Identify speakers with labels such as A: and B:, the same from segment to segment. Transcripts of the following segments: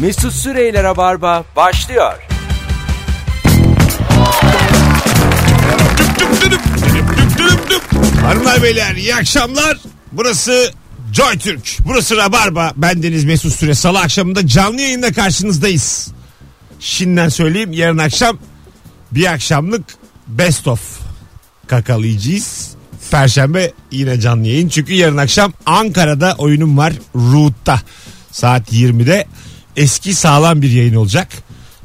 A: Mesut Süreyler'e barba başlıyor.
B: Hanımlar beyler iyi akşamlar. Burası Joy Türk. Burası Rabarba. Ben Deniz Mesut Süre. Salı akşamında canlı yayında karşınızdayız. Şimdiden söyleyeyim yarın akşam bir akşamlık best of kakalayacağız. Perşembe yine canlı yayın. Çünkü yarın akşam Ankara'da oyunum var. Root'ta. Saat 20'de eski sağlam bir yayın olacak.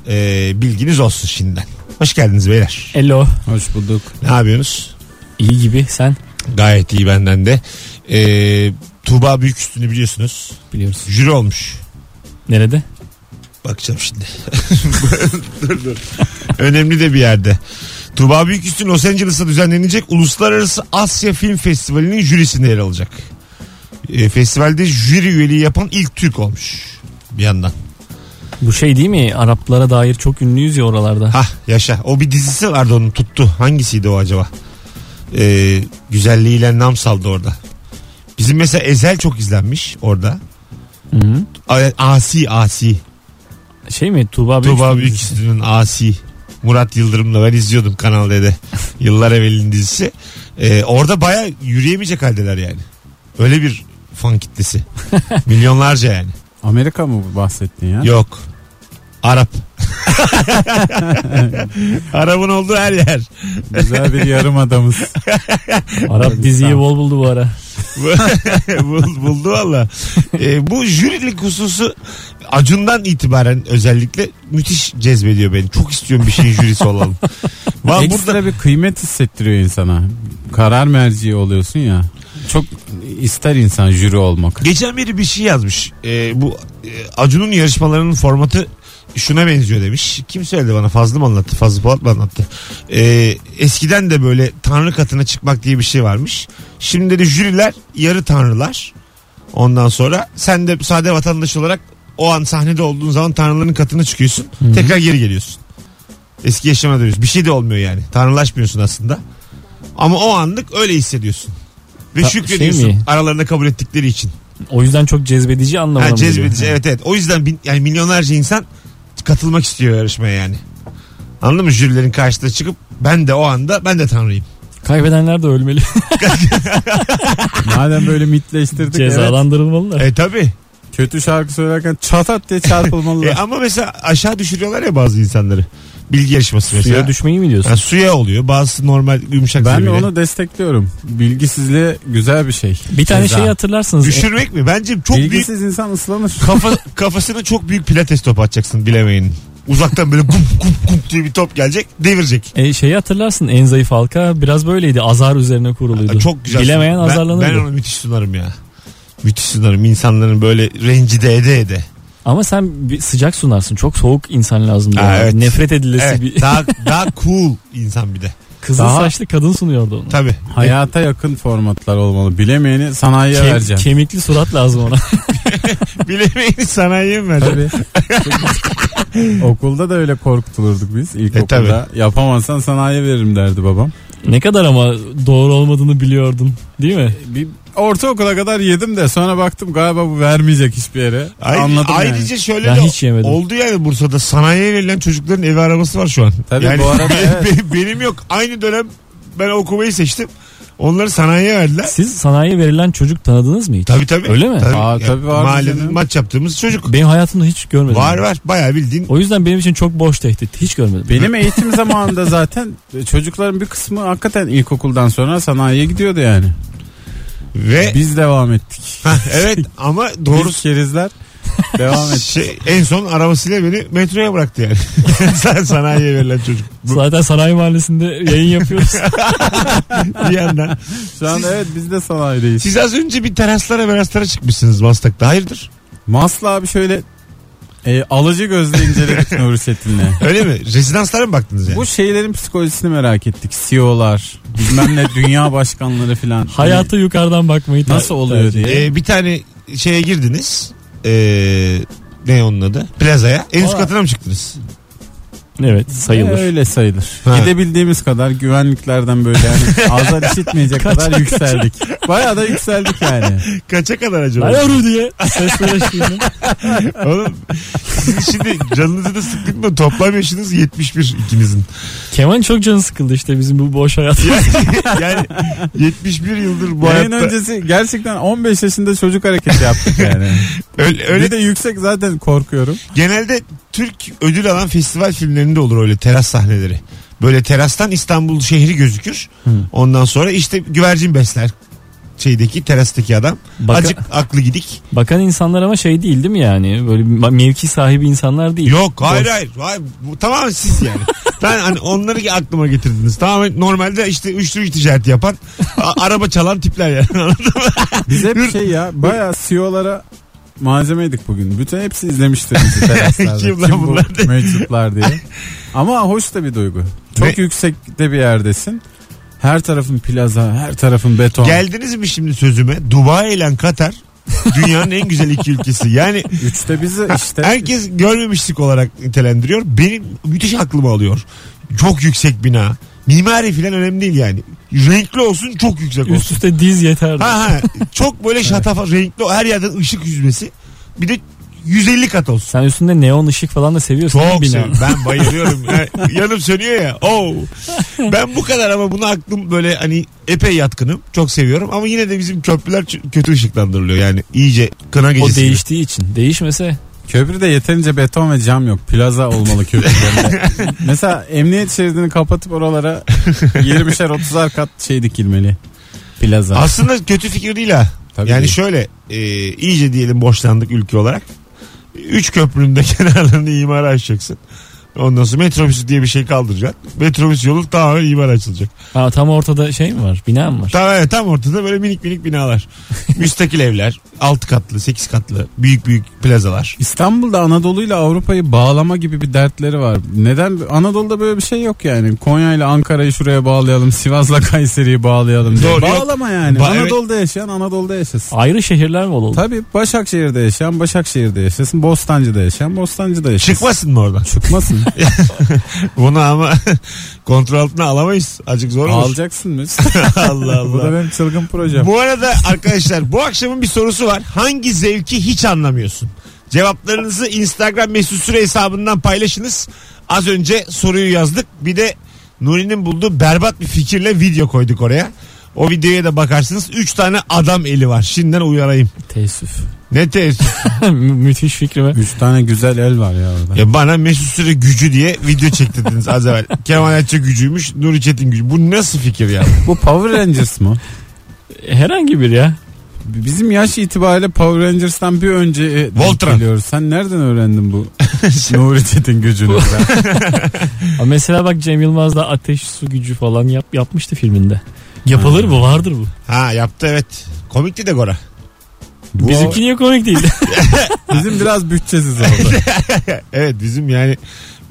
B: Ee, bilginiz olsun şimdiden. Hoş geldiniz beyler.
C: Hello.
D: Hoş bulduk.
B: Ne yapıyorsunuz?
C: İyi gibi sen
B: Gayet iyi benden de. Ee, Tuğba Büyük Üstünü biliyorsunuz.
D: Biliyoruz.
B: Jüri olmuş.
C: nerede?
B: Bakacağım şimdi. dur dur. Önemli de bir yerde. Tuğba Büyüküstü Los Angeles'ta düzenlenecek Uluslararası Asya Film Festivali'nin jürisinde yer alacak. Ee, festivalde jüri üyeliği yapan ilk Türk olmuş. Bir yandan.
C: Bu şey değil mi? Araplara dair çok ünlüyüz ya oralarda.
B: Hah yaşa. O bir dizisi vardı onun tuttu. Hangisiydi o acaba? Ee, güzelliğiyle nam saldı orada. Bizim mesela Ezel çok izlenmiş orada.
C: Hı.
B: A- Asi Asi.
C: Şey mi? Tuğba Büyük.
B: Tuğba Büyüküstü'nün Asi. Murat Yıldırım'la ben izliyordum Kanal D'de. Yıllar evvelin dizisi. Ee, orada baya yürüyemeyecek haldeler yani. Öyle bir fan kitlesi. Milyonlarca yani.
D: Amerika mı bu bahsettin ya?
B: Yok. Arap. Arap'ın olduğu her yer.
D: Güzel bir yarım adamız.
C: Arap diziyi
D: Tamam.
C: bol buldu bu ara.
B: Bul- buldu valla. Ee, bu jürilik hususu Acun'dan itibaren özellikle müthiş cezbediyor beni. Çok istiyorum bir şeyin jürisi olalım. Valla
D: Ekstra
B: burada
D: bir kıymet hissettiriyor insana. Karar merciği oluyorsun ya. Çok ister insan jüri olmak.
B: geçen biri bir şey yazmış. Ee, bu e, Acun'un yarışmalarının formatı şuna benziyor demiş. Kim söyledi bana? Fazlı mı anlattı? Fazlı Polat mı anlattı? Ee, eskiden de böyle tanrı katına çıkmak diye bir şey varmış. Şimdi de jüriler yarı tanrılar. Ondan sonra sen de sade vatandaş olarak o an sahnede olduğun zaman tanrıların katına çıkıyorsun. Tekrar geri geliyorsun. Eski yaşama dönüyorsun. Bir şey de olmuyor yani. Tanrılaşmıyorsun aslında. Ama o anlık öyle hissediyorsun. Ve
C: Ta-
B: şükrediyorsun
C: şey mi?
B: aralarında kabul ettikleri için.
C: O yüzden çok cezbedici anlamına
B: Ha,
C: mı geliyor?
B: cezbedici evet evet. O yüzden bin- yani milyonlarca insan katılmak istiyor yarışmaya yani. Anladın mı? Jürilerin karşısına çıkıp ben de o anda ben de tanrıyım.
C: Kaybedenler de ölmeli.
D: Madem böyle mitleştirdik evet.
C: Cezalandırılmalılar.
B: E tabi.
D: Kötü şarkı söylerken çatat diye
B: E,
D: çarpılmalılar.
B: ama mesela aşağı düşürüyorlar ya bazı insanları. Bilgi yarışması mesela.
C: Suya düşmeyi mi diyorsun?
B: Ha, suya oluyor. Bazısı normal yumuşak
D: ben
B: zemine.
D: onu destekliyorum. Bilgisizliğe güzel bir şey.
C: Bir tane
D: Ceza.
C: şey hatırlarsınız.
B: Düşürmek mi? Bence çok büyük
D: Bilgisiz insan ıslanır.
B: kafa, kafasına çok büyük pilates topu atacaksın bilemeyin. Uzaktan böyle kum kum kum diye bir top gelecek devirecek.
C: E, şeyi hatırlarsın en zayıf halka biraz böyleydi. Azar üzerine kuruluydu.
B: E, Çok güzel.
C: Bilemeyen
B: sun- ben,
C: azarlanırdı.
B: ben onu müthiş sunarım ya. Müthiş sunarım. İnsanların böyle rencide ede ede.
C: Ama sen bir sıcak sunarsın. Çok soğuk insan lazım.
B: Ha,
C: diyorlar.
B: evet.
C: Nefret edilesi
B: Evet,
C: bir
B: daha, daha cool insan bir de.
C: kızıl
D: Daha-
C: saçlı kadın sunuyordu onu.
B: Tabii.
D: Hayata yakın formatlar olmalı. Bilemeyeni sanayiye
C: Kem-
D: vereceğim.
C: kemikli surat lazım ona.
B: Bilemeyeni sanayiye mi verdim?
D: Tabii. Çünkü Okulda da öyle korkutulurduk biz
B: E,
D: ilkokulda. Yapamazsan sanayi veririm derdi babam.
C: ne kadar ama doğru olmadığını biliyordun değil mi?
D: Bir ortaokula kadar yedim de sonra baktım galiba bu vermeyecek hiçbir yere.
B: Ayrı-
D: Anladım
B: ayrıca
D: yani.
B: şöyle
C: Ben
B: de
C: hiç yemedim.
B: oldu yani Bursa'da sanayiye verilen çocukların evi arabası var şu an.
D: Tabii
B: yani
D: bu arada evet.
B: be- benim yok. Aynı dönem ben okumayı seçtim. Onları sanayiye verdiler.
C: Siz sanayiye verilen çocuk tanıdınız mı hiç?
B: Tabii tabii.
C: Öyle mi?
B: Tabii.
D: Aa,
B: Yani
D: tabii vardı
B: mahallenin
D: canım.
B: maç yaptığımız çocuk.
C: Benim hayatımda hiç görmedim.
B: Var var. Bayağı bildiğin.
C: O yüzden benim için çok boş tehdit. Hiç görmedim.
D: Benim eğitim zamanında zaten çocukların bir kısmı hakikaten ilkokuldan sonra sanayiye gidiyordu yani.
B: Ve
D: Biz devam ettik.
B: Hah, evet ama
D: Doğru
B: doğru
D: kerizler devam ettik.
B: şey, en son arabasıyla beni metroya bıraktı yani. Sen sanayiye verilen çocuk. Bu,
C: Zaten sanayi mahallesinde yayın yapıyoruz.
B: bir yandan.
D: Şu an
B: Siz-
D: evet biz de sanayideyiz.
B: Siz az önce bir teraslara meraslara çıkmışsınız Maslak'ta. Hayırdır?
D: Masla abi şöyle e, alıcı gözle inceledik Nuri Çetin'le.
B: Öyle mi? Rezidanslara mı baktınız yani?
D: Bu şeylerin psikolojisini merak ettik. CEO'lar, bilmem ne dünya başkanları filan.
C: Hayata yukarıdan bakmayı
D: Hani
C: ter-
D: nasıl oluyor
C: tercih-
D: diye.
B: Ee, bir tane şeye girdiniz. Ee, ne onun adı? Plazaya. En üst
C: Aa.
B: katına mı çıktınız?
C: Evet sayılır.
D: E, öyle sayılır.
B: Ha.
D: Gidebildiğimiz kadar güvenliklerden böyle yani azar işitmeyecek kadar yükseldik. Bayağı da yükseldik yani.
B: Kaça kadar acaba?
C: Lan yavru diye sesler eşliğinde.
B: Oğlum sizin şimdi canınızı da sıktık mı? Toplam yaşınız 71 ikinizin.
C: Kemal çok canı sıkıldı işte bizim bu boş hayat.
B: Yani 71 yıldır bu
D: Yayın
B: hayatta.
D: öncesi gerçekten 15 yaşında çocuk hareketi yaptık yani.
B: Öyle,
D: Öyle
B: öyle
D: bir de
B: de
D: yüksek zaten korkuyorum.
B: genelde Türk ödül alan festival filmlerinde olur öyle teras sahneleri. Böyle terastan İstanbul şehri gözükür. Ondan sonra işte güvercin besler şeydeki terastaki adam.
C: Baka-
B: Acık aklı gidik.
C: Bakan insanlar ama şey değil değil mi yani? Böyle bir mevki sahibi insanlar değil.
B: Yok hayır
C: Boş.
B: hayır. hayır. Bu, tamamen siz yani. ben hani onları ki aklıma getirdiniz. Tamamen normalde işte uyuşturucu ticareti yapan a- araba çalan tipler yani. Anladın mı?
D: Biz hep şey ya bayağı CEO'lara malzemeydik bugün. Bütün hepsi izlemiştir bizi teraslarda.
B: Kim lan
D: bu
B: bunlar diye.
D: Meczuplar diye. Ama hoş da bir duygu. Çok
B: Ne?
D: yüksekte bir yerdesin. Her tarafın plaza, her tarafın beton.
B: Geldiniz mi şimdi sözüme? Dubai ile Katar dünyanın en güzel iki ülkesi. Yani
D: Üçte bizi işte
B: herkes görmemişlik olarak nitelendiriyor. Benim müthiş aklımı alıyor. Çok yüksek bina. Mimari falan önemli değil yani. Renkli olsun çok yüksek
C: Üst
B: olsun.
C: üste diz yeterdi.
B: Ha ha. Çok böyle şatafa renkli her yerden ışık yüzmesi. Bir de 150 kat olsun.
C: Sen üstünde neon ışık falan da seviyorsun. değil mi
B: Çok
C: bina?
B: seviyorum. Ben bayılıyorum. Yani Yanım sönüyor ya. Oo. Ben bu kadar ama buna aklım böyle hani epey yatkınım. Çok seviyorum ama yine de bizim köprüler ç- kötü ışıklandırılıyor. Yani iyice kına
C: O
B: gecesi. gibi.
C: değiştiği için. Değişmese
D: köprüde yeterince beton ve cam yok. Plaza olmalı köprülerinde. Mesela emniyet şeridini kapatıp oralara 20'şer 30'ar kat şey dikilmeli. Plaza.
B: Aslında kötü fikir değil ha.
D: Tabii
B: yani
D: değil.
B: şöyle e, iyice diyelim boşlandık ülke olarak. Üç köprünün de kenarlarını imara açacaksın. Ondan sonra metrobüsü diye bir şey kaldıracaksın. Metrobüs yolu tamamen imara açılacak.
C: ha, tam ortada şey mi var? Bina mı var?
B: Tam, evet, tam ortada böyle minik minik binalar. Müstakil evler. Altı katlı, sekiz katlı. Büyük büyük plazalar.
D: İstanbul'da Anadolu ile Avrupa'yı bağlama gibi bir dertleri var. Neden? Anadolu'da böyle bir şey yok yani. Konya ile Ankara'yı şuraya bağlayalım. Sivas'la Kayseri'yi bağlayalım. Diye.
B: Doğru, yok.
D: Bağlama yani.
B: Ba- evet.
D: Anadolu'da yaşayan Anadolu'da yaşasın.
C: Ayrı şehirler mi olur?
D: Tabii Başakşehir'de yaşayan Başakşehir'de yaşasın. Bostancı'da yaşayan Bostancı'da yaşasın.
B: Çıkmasın mı oradan?
D: Çıkmasın.
B: Bunu ama kontrol altına alamayız. Azıcık zor olur.
D: Alacaksın mı?
B: Allah
D: Bu da
B: Allah.
D: benim çılgın projem.
B: Bu arada arkadaşlar bu akşamın bir sorusu var. Hangi zevki hiç anlamıyorsun? Cevaplarınızı Instagram mesut süre hesabından paylaşınız. Az önce soruyu yazdık. Bir de Nuri'nin bulduğu berbat bir fikirle video koyduk oraya. O videoya da bakarsınız. 3 tane adam eli var. Şimdiden uyarayım.
C: Teessüf.
B: Ne teessüf.
C: Mü- Müthiş fikrime.
D: Üç tane güzel el var ya orada.
B: Ya bana Mesut Süre gücü diye video çektirdiniz az evvel. Kemal Ayça gücüymüş, Nuri Çetin gücü. Bu nasıl fikir ya?
D: Bu Power Rangers mı?
C: Herhangi bir ya.
D: Bizim yaş itibariyle Power Rangers'tan bir önce e, denk
B: Voltron.
D: geliyoruz. Sen nereden öğrendin bu Nuri Çetin gücünü? Ben-
C: Ama Mesela bak Cem Yılmaz da ateş su gücü falan yap, yapmıştı filminde. Yapılır bu vardır bu.
B: Ha yaptı evet. Komikti de Gora.
D: bu,
C: Bizimki niye komik değil?
D: bizim biraz bütçesiz oldu.
B: Evet bizim yani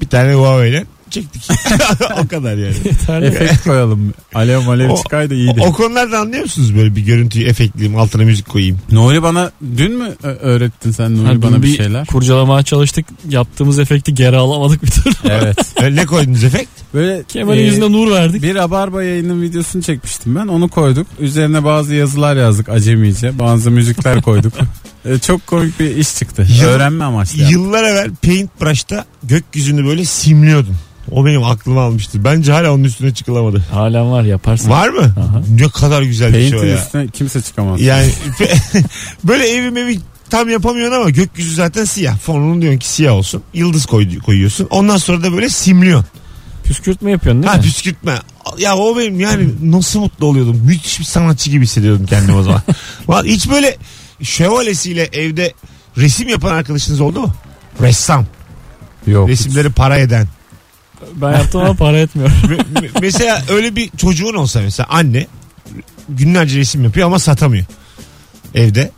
B: bir tane Huawei'yle çektik. o kadar yani.
C: Yeterli.
D: Efekt koyalım. Alev alev
B: O-
D: çıkaydı
B: O,
D: iyiydi.
B: o konularda anlıyor musunuz böyle bir görüntüyü efektleyeyim altına müzik koyayım.
D: Nuri bana dün mü ö- öğrettin sen Nuri
C: Ha, dün
D: bana bir şeyler?
C: Kurcalamaya çalıştık. Yaptığımız efekti geri alamadık bir türlü.
D: evet.
B: Öyle ne koydunuz efekt?
D: Böyle
C: Kemal'in
D: e,
C: yüzüne nur verdik.
D: Bir Rabarba yayının videosunu çekmiştim ben. Onu koyduk. Üzerine bazı yazılar yazdık acemice. Bazı müzikler koyduk. E, çok komik bir iş çıktı.
B: Yıl-
D: Öğrenme amaçlı. yaptık.
B: Yıllar evvel Paintbrush'ta gökyüzünü böyle simliyordum. O benim aklıma almıştı. Bence hala onun üstüne çıkılamadı.
C: Halen var yaparsın.
B: Var mı?
C: Aha.
B: Ne kadar güzel bir şey o
D: Paint'in
B: ya.
D: üstüne kimse çıkamaz.
B: Yani pe- böyle evim evi tam yapamıyorsun ama gökyüzü zaten siyah. Fonunu diyorsun ki siyah olsun. Yıldız koy, koyuyorsun. Ondan sonra da böyle simliyorsun.
C: Püskürtme yapıyorsun değil
B: ha
C: mi?
B: püskürtme. Ya o benim yani nasıl mutlu oluyordum. Müthiş bir sanatçı gibi hissediyordum kendimi o zaman. Ulan hiç böyle şövalesiyle evde resim yapan arkadaşınız oldu mu? Ressam.
D: Yok.
B: Resimleri para eden.
C: Ben yaptım ama para etmiyor.
B: Me- me- mesela öyle bir çocuğun olsa mesela anne günlerce resim yapıyor ama satamıyor. Evde.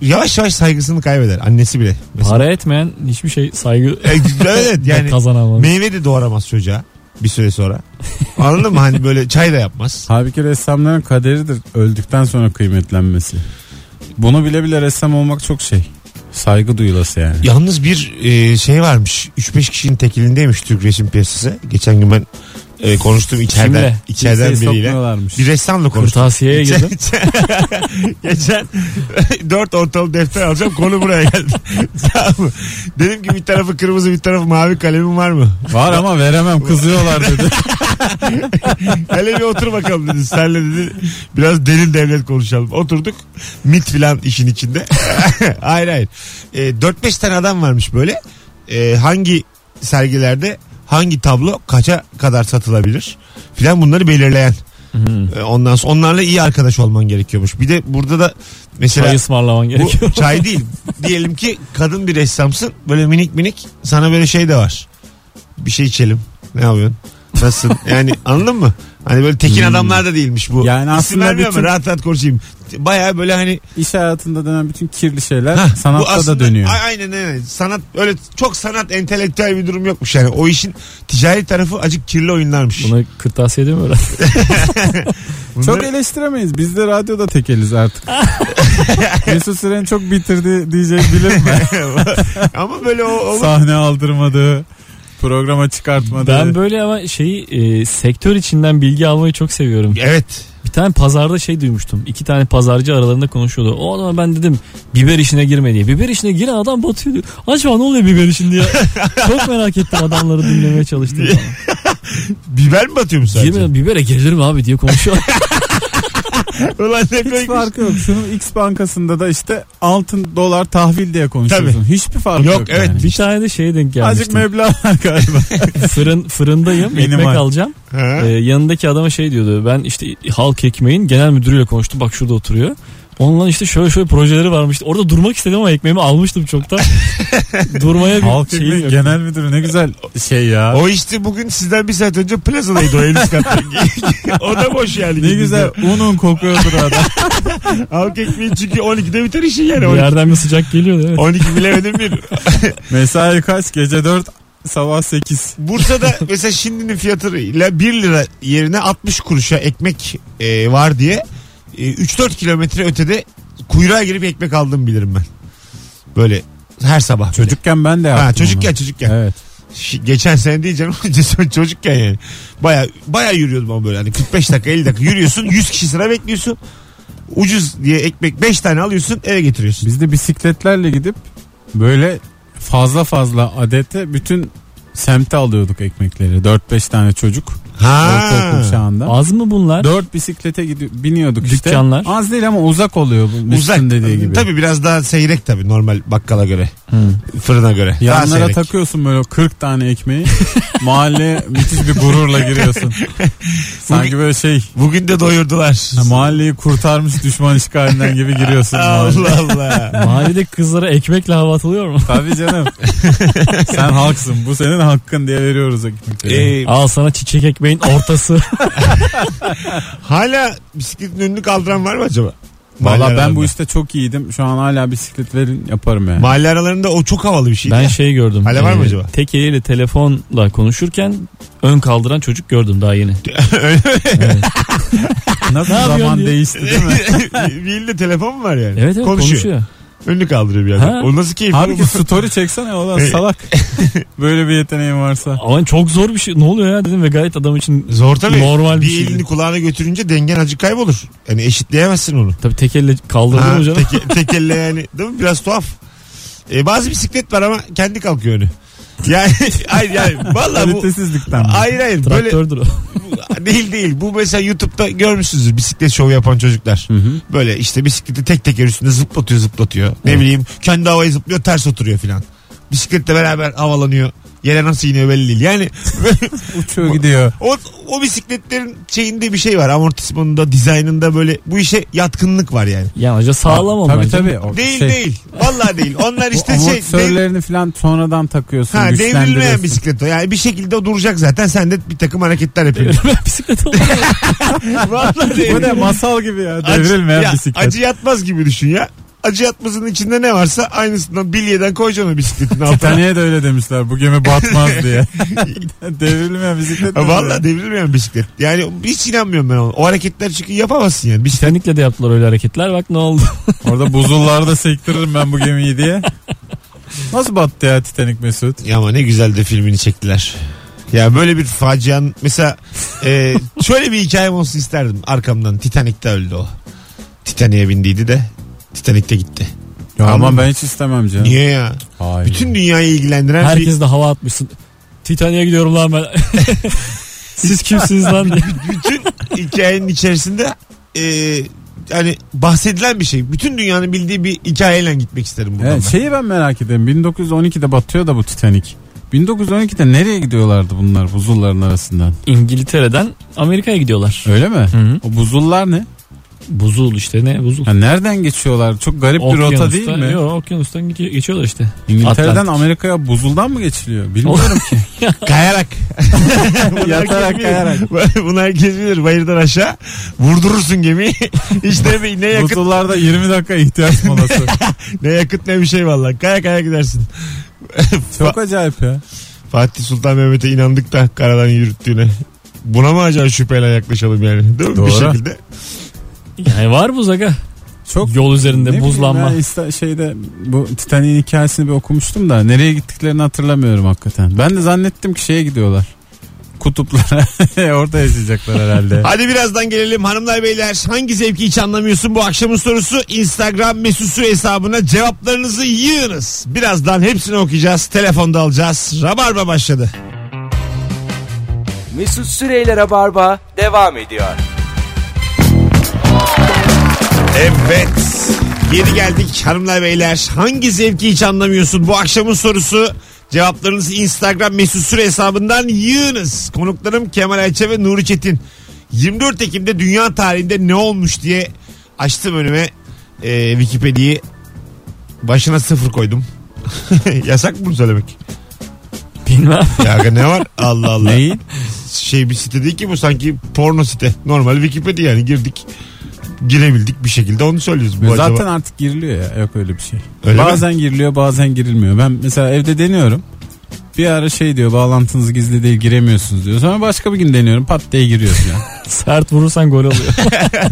B: Yavaş yavaş saygısını kaybeder. Annesi bile. Mesela.
C: Para etmeyen hiçbir şey saygı
B: E, evet yani
C: kazanamaz.
B: meyve de doğuramaz çocuğa bir süre sonra. Anladın mı? Hani böyle çay da yapmaz.
D: Halbuki ressamların kaderidir öldükten sonra kıymetlenmesi. Bunu bile bile ressam olmak çok şey. Saygı duyulası yani.
B: Yalnız bir e, şey varmış. 3-5 kişinin tekilindeymiş Türk resim piyasası. Geçen gün ben e, konuştuğum içeriden,
C: Kimle?
B: içeriden
D: Kimseyi
B: biriyle.
D: sokmuyorlarmış.
B: Bir ressamla konuştum.
C: Kırtasiyeye girdim.
B: Geçen dört ortalık defter alacağım konu buraya geldi. tamam mı? Dedim ki bir tarafı kırmızı bir tarafı mavi kalemim var mı?
D: Var ama veremem kızıyorlar dedi.
B: Hele bir otur bakalım dedi. Senle dedi biraz derin devlet konuşalım. Oturduk. MIT filan işin içinde. hayır hayır. E, 4-5 tane adam varmış böyle. E, hangi sergilerde hangi tablo kaça kadar satılabilir filan bunları belirleyen. E, ondan sonra onlarla iyi arkadaş olman gerekiyormuş. Bir de burada da mesela
C: Çay ısmarlaman gerekiyor.
B: bu çay değil. Diyelim ki kadın bir ressamsın. Böyle minik minik sana böyle şey de var. Bir şey içelim. Ne yapıyorsun? Nasılsın? Yani anladın mı? Hani böyle tekin adamlar da değilmiş bu.
D: Hmm. Yani
B: İsim
D: aslında
B: vermiyor ama
D: bütün-
B: rahat rahat konuşayım. Baya böyle hani
D: İş hayatında dönen bütün kirli şeyler
B: Hah, bu
D: sanatta
B: aslında-
D: da dönüyor.
B: A- Aynen öyle. Sanat öyle çok sanat entelektüel bir durum yokmuş yani. O işin ticari tarafı acık kirli oyunlarmış.
C: Bunu kırtasiyede mi öğrendin?
B: Bunları-
D: Çok eleştiremeyiz. Biz de radyoda tekeliz artık. Mesut Süren çok bitirdi diyecek bilir mi?
B: ama böyle o, o
D: Sahne aldırmadı. Programa çıkartmadı.
C: Ben böyle ama şeyi e, sektör içinden bilgi almayı çok seviyorum.
B: Evet.
C: Bir tane pazarda şey duymuştum. İki tane pazarcı aralarında konuşuyordu. O adama ben dedim biber işine girme diye. Biber işine giren adam batıyor diyor. Acaba ne oluyor biber işinde ya? çok merak ettim adamları dinlemeye çalıştım.
B: Biber mi batıyor mu sadece?
C: Girme, bibere gelir mi abi diye konuşuyor.
B: Ulan ne
D: Hiç
B: koymuş.
D: farkı yok. Şunun X bankasında da işte altın dolar tahvil diye konuşuyorsun. Hiçbir farkı yok.
B: şey? Yok, evet.
D: Yani.
C: bir tane de şeye denk
D: Azıcık
C: gelmiştim.
D: meblağ var galiba.
C: Fırın, fırındayım ekmek
D: Minimal.
C: alacağım.
B: Ha?
C: Ee, yanındaki adama şey diyordu. Ben işte halk ekmeğin genel müdürüyle konuştum. Bak şurada oturuyor. Onunla işte şöyle şöyle projeleri varmış. Orada durmak istedim ama ekmeğimi almıştım çoktan. Durmaya bir
D: Halk
C: şeyim
D: Ekmeği
C: yok.
D: genel müdürü ne güzel şey ya.
B: O işte bugün sizden bir saat önce plazadaydı o en üst katta. o da boş yani.
D: ne güzel unun kokuyordur adam.
B: Halk ekmeği çünkü 12'de biter işin yani.
C: Bir
B: 12,
C: yerden bir sıcak geliyor evet.
B: 12 bilemedim bir.
D: Mesai kaç? Gece 4 sabah 8.
B: Bursa'da mesela şimdinin fiyatıyla 1 lira yerine 60 kuruşa ekmek e, var diye e, 3-4 kilometre ötede kuyruğa girip ekmek aldım bilirim ben. Böyle her sabah. bile.
D: Çocukken ben de yaptım.
B: Ha,
D: onu.
B: çocukken çocukken.
D: Evet.
B: Şi- Geçen sene değil canım. Cesaret çocukken yani. Baya baya yürüyordum ama böyle. Hani 45 dakika 50 dakika yürüyorsun. 100 kişi sıra bekliyorsun. Ucuz diye ekmek 5 tane alıyorsun eve getiriyorsun.
D: Biz de bisikletlerle gidip böyle fazla fazla adete bütün semte alıyorduk ekmekleri. 4-5 tane çocuk. Ortaokul
B: Ha.
D: çağında.
C: Az mı bunlar?
D: 4 bisiklete gidiyor, biniyorduk işte.
C: Dükkanlar.
D: Az değil ama uzak oluyor bu
B: Uzak.
D: Mesut'un dediği gibi.
B: Tabii biraz daha seyrek tabii normal bakkala göre.
C: Hı.
B: Fırına göre. Daha
D: Yanlara
B: seyrek.
D: takıyorsun böyle 40 tane ekmeği. Mahalleye müthiş bir gururla giriyorsun. Sanki böyle şey
B: Bugün de doyurdular.
D: ha, mahalleyi kurtarmış düşman işgalinden gibi giriyorsun. mahalleye.
B: Allah Allah.
C: Mahallede kızlara ekmekle hava atılıyor mu?
D: Tabii canım. Sen halksın. Bu senin hakkın diye veriyoruz ekmekleri.
B: Ee,
C: Al sana çiçek ekmeğin ortası.
B: hala bisikletin önünü kaldıran var mı acaba?
D: Valla ben bu
B: iş...
D: işte çok iyiydim. Şu an hala bisiklet verin yaparım yani.
B: Mahalle aralarında o çok havalı bir şey.
C: ben şey gördüm.
B: Hala var mı acaba?
C: Tek eliyle telefonla konuşurken ön kaldıran çocuk gördüm daha yeni. Evet.
D: Nasıl
C: Ne yapıyorsun
D: zaman
C: diye.
D: değişti değil mi?
B: bir elinde telefon mu var yani?
C: Evet evet konuşuyor.
B: Önünü kaldırıyor bir adam.
C: Ha.
B: O nasıl keyifli?
D: Abi ki story çeksene o
B: Ee,
D: lan salak. Böyle bir yeteneğim varsa.
C: Ama çok zor bir şey. Ne oluyor ya dedim ve gayet adam için
B: Zor tabii.
C: Normal bir
B: bir
C: şey.
B: elini kulağına götürünce dengen acı kaybolur. Yani eşitleyemezsin onu.
C: Tabii tek elle kaldırdım
B: Ha,
C: hocam.
B: tek, tek elle yani. Değil mi? Biraz tuhaf. E, bazı bisiklet var ama kendi kalkıyor önü. Yani hayır yani valla bu
D: Kalitesizlikten. mi?
B: hayır hayır böyle
C: Traktördür o.
B: bu- değil değil. Bu mesela YouTube'da görmüşsünüzdür bisiklet şovu yapan çocuklar.
D: Hı hı.
B: Böyle işte bisikleti tek teker üstünde zıplatıyor zıplatıyor. Ne bileyim kendi havaya zıplıyor ters oturuyor filan. Bisikletle beraber havalanıyor. Yere nasıl iniyor belli değil. Yani
D: Uçuyor gidiyor.
B: O, o bisikletlerin şeyinde bir şey var. Amortismanında, dizaynında böyle bu işe yatkınlık var yani.
C: Yani hoca sağlam onlar.
D: Tabii
C: canım.
D: tabii. O
B: Değil
D: şey,
B: değil. Vallahi değil. Onlar
D: bu
B: işte şey dev-
D: amortisörlerini falan sonradan takıyorsun.
B: ha, devrilmeyen
D: güçlendiriyorsun.
B: bisiklet o. Yani bir şekilde o duracak zaten. Sen de bir takım hareketler yapıyorsun.
C: Bisiklet olur.
B: Vallahi
D: Bu ne
B: devrilmeyen-
D: masal gibi ya.
B: şey. Acı-
D: Devrilmeyen
B: ya,
D: bisiklet.
B: Acı yatmaz gibi düşün ya. Acı yatmasının içinde ne varsa aynısından bilyeden koyacaksın o bisikletin altına.
D: Titanik'e de öyle demişler. Bu gemi batmaz diye. devrilmeyen bisiklet.
B: Ha, Vallahi devrilmeyen bisiklet. Yani hiç inanmıyorum ben ona. O hareketler çünkü yapamazsın yani. Bisiklet
C: Titanik'le de yaptılar öyle hareketler. Bak ne oldu.
D: Orada buzullarda sektiririm ben bu gemiyi diye. Nasıl battı ya Titanic Mesut?
B: Ya ama ne güzel de filmini çektiler. Ya böyle bir facian mesela e, şöyle bir hikayem olsun isterdim arkamdan. Titanic'te öldü o. Titanic'e bindiydi de Titanic'te gitti.
D: Ya
B: Anladın
D: ama
B: mı?
D: ben hiç istemem canım.
B: Niye ya?
D: Hayır.
B: Bütün dünyayı ilgilendiren
C: Herkes de hava atmışsın. Titanic'e gidiyorum lan ben. Siz kimsiniz lan diye.
B: bir hikayenin içerisinde e, yani bahsedilen bir şey. Bütün dünyanın bildiği bir hikayeyle gitmek isterim buradan.
D: Evet,
B: ben.
D: şey- E, şeyi ben merak ediyorum. 1912'de batıyor da bu Titanic. 1912'de nereye gidiyorlardı bunlar buzulların arasından?
C: İngiltere'den Amerika'ya gidiyorlar.
D: Öyle mi?
C: Hı hı.
D: O buzullar ne?
C: Buzul işte ne buzul.
D: Ya nereden geçiyorlar? Çok garip bir rota değil
C: Okyanustan-
D: mi?
C: Yok okyanustan geçi- geçiyorlar işte.
D: İngiltere'den
C: Atlantik.
D: Amerika'ya buzuldan mı geçiliyor? Bilmiyorum ki.
B: Kayarak. Bunu
D: Yatarak,
B: herkes bilir. Bunu herkes bilir. Bayırdan aşağı vurdurursun gemiyi. işte ne- ne yakıt
D: Buzullarda 20 dakika ihtiyaç molası.
B: ne yakıt ne bir şey vallahi. Kaya kaya gidersin.
D: Çok acayip ya.
B: Fatih Sultan Mehmet'e inandık da karadan yürüttüğüne. Buna mı acaba şüpheyle yaklaşalım yani? Değil mi?
D: Doğru.
B: Bir şekilde.
C: Yani var buz aga.
D: Çok
C: Yol üzerinde
D: Ne
C: buzlanma.
D: bileyim ben İsta- şeyde bu Titanic'in hikayesini bir okumuştum da nereye gittiklerini hatırlamıyorum hakikaten. Ben de zannettim ki şeye gidiyorlar. Kutuplara orada yaşayacaklar herhalde.
B: Hadi birazdan gelelim hanımlar beyler. Hangi zevki hiç anlamıyorsun bu akşamın sorusu? Instagram mesusu hesabına cevaplarınızı yığınız. Birazdan hepsini okuyacağız. Telefonda alacağız. Rabarba başladı.
A: Mesut Süreyler'e barba devam ediyor.
B: Evet. Geri geldik hanımlar beyler. Hangi zevki hiç anlamıyorsun? Bu akşamın sorusu cevaplarınızı Instagram mesut süre hesabından yığınız. Konuklarım Kemal Ayça ve Nuri Çetin. 24 Ekim'de dünya tarihinde ne olmuş diye açtım önüme e, Wikipedia'yı. Başına sıfır koydum. Yasak mı bunu söylemek?
C: Bilmem.
B: Ya aga ne var? Allah Allah.
D: Neyi?
B: Şey bir site değil ki bu sanki porno site. Normal Wikipedia yani girdik. Girebildik bir şekilde onu söylüyoruz.
C: E
B: Bu acaba-
D: Zaten artık giriliyor ya. Yok öyle bir şey.
B: Öyle mi?
D: bazen giriliyor bazen girilmiyor. Ben mesela evde deniyorum. Bir ara şey diyor bağlantınız gizli değil giremiyorsunuz diyor. Sonra başka bir gün deniyorum pat diye giriyorsun ya.
C: Sert vurursan gol oluyor.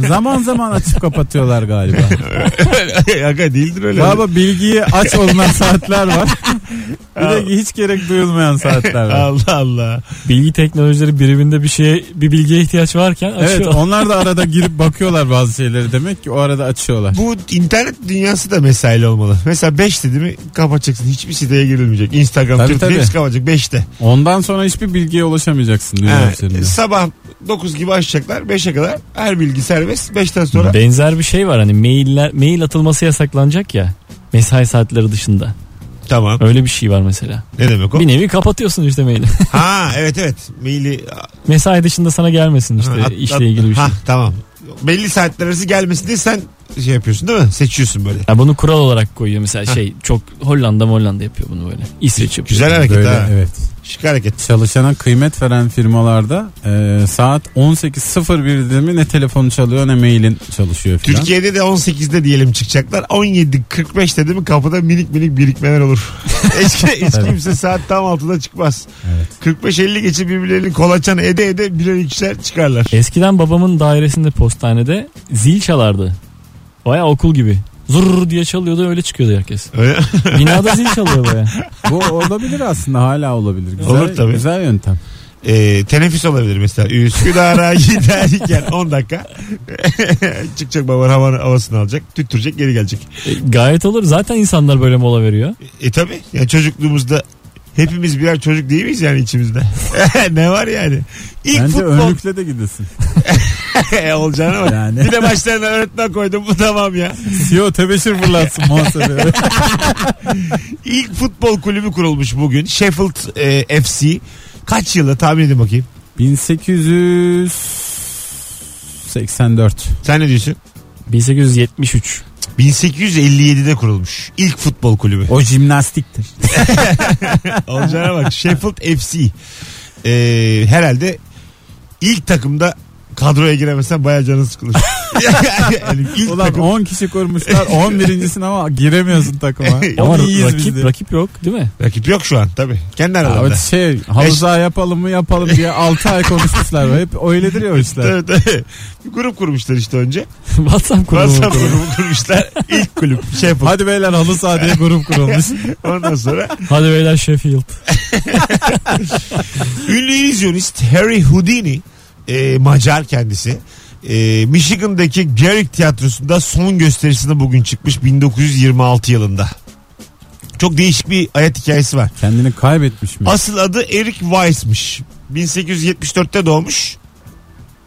D: zaman zaman açıp kapatıyorlar galiba.
B: Aga değildir öyle.
D: Galiba bilgiyi aç olunan saatler var. bir de hiç gerek duyulmayan saatler var.
B: Allah Allah.
C: Bilgi teknolojileri biriminde bir şeye bir bilgiye ihtiyaç varken
D: Evet
C: açıyor.
D: onlar da arada girip bakıyorlar bazı şeyleri demek ki o arada açıyorlar.
B: Bu internet dünyası da mesaili olmalı. Mesela 5'te değil mi kapatacaksın. Hiçbir siteye girilmeyecek. Instagram,
D: Tabii,
B: Twitter
D: tabii.
B: hepsi kapanacak 5'te.
D: Ondan sonra hiçbir bilgiye ulaşamayacaksın dünya
B: Ha,
D: üzerinde.
B: sabah 9 gibi açacaklar. 5'e kadar her bilgi serbest. 5'ten sonra
C: Benzer bir şey var hani mailler mail atılması yasaklanacak ya. Mesai saatleri dışında.
B: tamam.
C: Öyle bir şey var mesela.
B: Ne demek o?
C: Bir nevi kapatıyorsun işte maili.
B: ha evet evet. Maili
C: Mesai dışında sana gelmesin işte
B: ha, at- at-
C: işle ilgili bir şey.
B: Ha tamam. Belli saatler arası gelmesin diye sen şey yapıyorsun değil mi? Seçiyorsun böyle.
C: Ya bunu kural olarak koyuyor mesela şey çok Hollanda Hollanda yapıyor bunu böyle. İsveç yapıyor.
B: Güzel hareket
D: Böyle,
B: ha.
D: evet.
B: Şık hareket.
D: Çalışana kıymet veren firmalarda e, saat 18.01 dedi mi ne telefonu çalıyor ne mailin çalışıyor filan.
B: Türkiye'de de 18'de diyelim çıkacaklar. 17.45'te değil mi kapıda minik minik birikmeler olur. hiç, hiç kimse saat tam 6'da çıkmaz. 45-50 geçe birbirlerini kolaçan ede ede birer ikişer çıkarlar.
C: Eskiden babamın dairesinde postanede zil çalardı. Baya okul gibi. Zurr diye çalıyordu öyle çıkıyordu herkes.
B: Öyle-
C: Binada zil çalıyor baya.
D: Bu olabilir aslında hala olabilir. Güzel,
B: Olur tabii.
D: Güzel yöntem.
B: Ee, teneffüs olabilir mesela. Üsküdar'a giderken 10 dakika çıkacak baban havanı, havasını alacak. Tüttürecek geri gelecek.
C: E, gayet olur. Zaten insanlar böyle mola veriyor.
B: E tabi yani çocukluğumuzda hepimiz birer çocuk değil miyiz yani içimizde? ne var yani? İlk
D: Bence
B: futbol
D: önlükle de gidesin.
B: olacağına bak.
D: Yani.
B: Bir de başlarına öğretmen koydum bu tamam ya.
D: CEO tebeşir fırlatsın muhasebe.
B: İlk futbol kulübü kurulmuş bugün. Sheffield e, FC. Kaç yılda tahmin edin bakayım.
D: 1884.
B: Sen ne diyorsun?
C: 1873.
B: 1857'de kurulmuş. İlk futbol kulübü.
D: O jimnastiktir.
B: Olacağına bak. Sheffield FC. E, herhalde ilk takımda kadroya giremezsen bayağı canın sıkılır. yani ilk
D: Ulan
B: takım-
D: 10 kişi kurmuşlar 11.sin ama giremiyorsun takıma.
B: E,
C: Ama
D: Ama
C: ra-
D: iyiyiz
C: rakip,
D: biz de.
C: rakip yok değil mi?
B: Rakip yok şu an tabii. Kendi
D: Ya
B: aralarında.
D: öte şey halıza yapalım mı yapalım diye 6 ay konuşmuşlar. Hep öyledir ya o işler.
B: Tabii, tabii. Bir grup kurmuşlar işte önce.
C: WhatsApp kurumu.
B: WhatsApp grubu kurmuşlar. İlk kulüp şey yapalım.
D: Hadi beyler halı saha diye grup kurulmuş.
B: Ondan sonra
C: Hadi beyler Sheffield.
B: Ünlü illüzyonist Harry Houdini e, Macar kendisi. E, Michigan'daki Garrick Tiyatrosu'nda son gösterisine bugün çıkmış 1926 yılında. Çok değişik bir hayat hikayesi var.
D: Kendini kaybetmiş mi?
B: Asıl adı Eric Weiss'miş. 1874'te doğmuş.